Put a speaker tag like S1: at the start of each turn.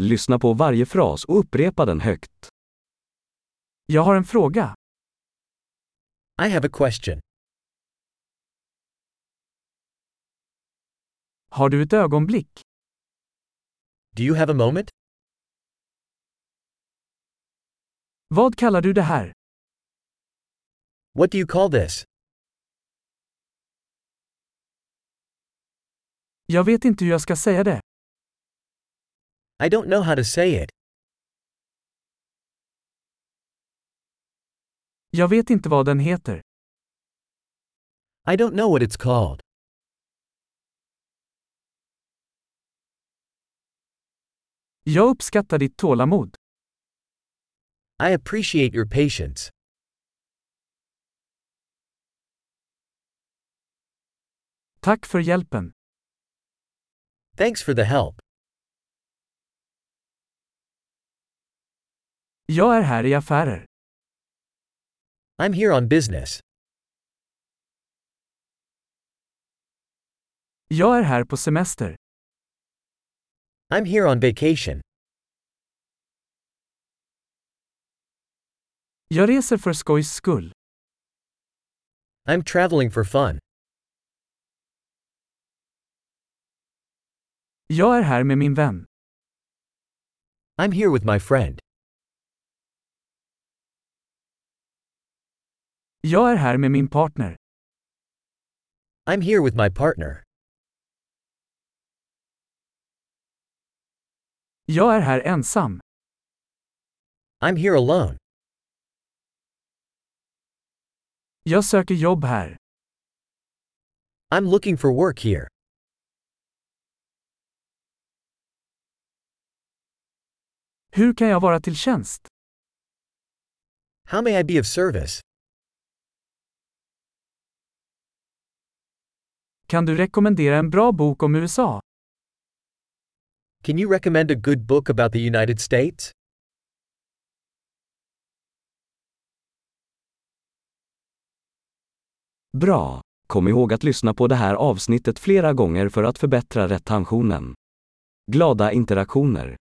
S1: Lyssna på varje fras och upprepa den högt. Jag har en fråga.
S2: I have a question.
S1: Har du ett ögonblick?
S2: Do you have a moment?
S1: Vad kallar du det här?
S2: What do you call this?
S1: Jag vet inte hur jag ska säga det.
S2: I don't know how to say it.
S1: Jag vet inte vad den heter.
S2: I don't know what it's called.
S1: Jag uppskattar ditt tålamod.
S2: I appreciate your patience.
S1: Tack för hjälpen.
S2: Thanks for the help.
S1: Jag är här i affärer.
S2: I'm here on business.
S1: Jag är här på semester.
S2: I'm here on vacation.
S1: Jag reser för skojs skull.
S2: I'm traveling for fun.
S1: Jag är här med min vän.
S2: I'm here with my friend.
S1: Jag är här med min partner.
S2: I'm here with my partner.
S1: Jag är här ensam.
S2: I'm here alone.
S1: Jag söker jobb här.
S2: I'm looking for work here.
S1: Hur kan jag vara till tjänst?
S2: How may I be of service?
S1: Kan du rekommendera en bra bok om USA?
S2: Can you recommend a good book about the United States?
S1: Bra! Kom ihåg att lyssna på det här avsnittet flera gånger för att förbättra retentionen. Glada interaktioner!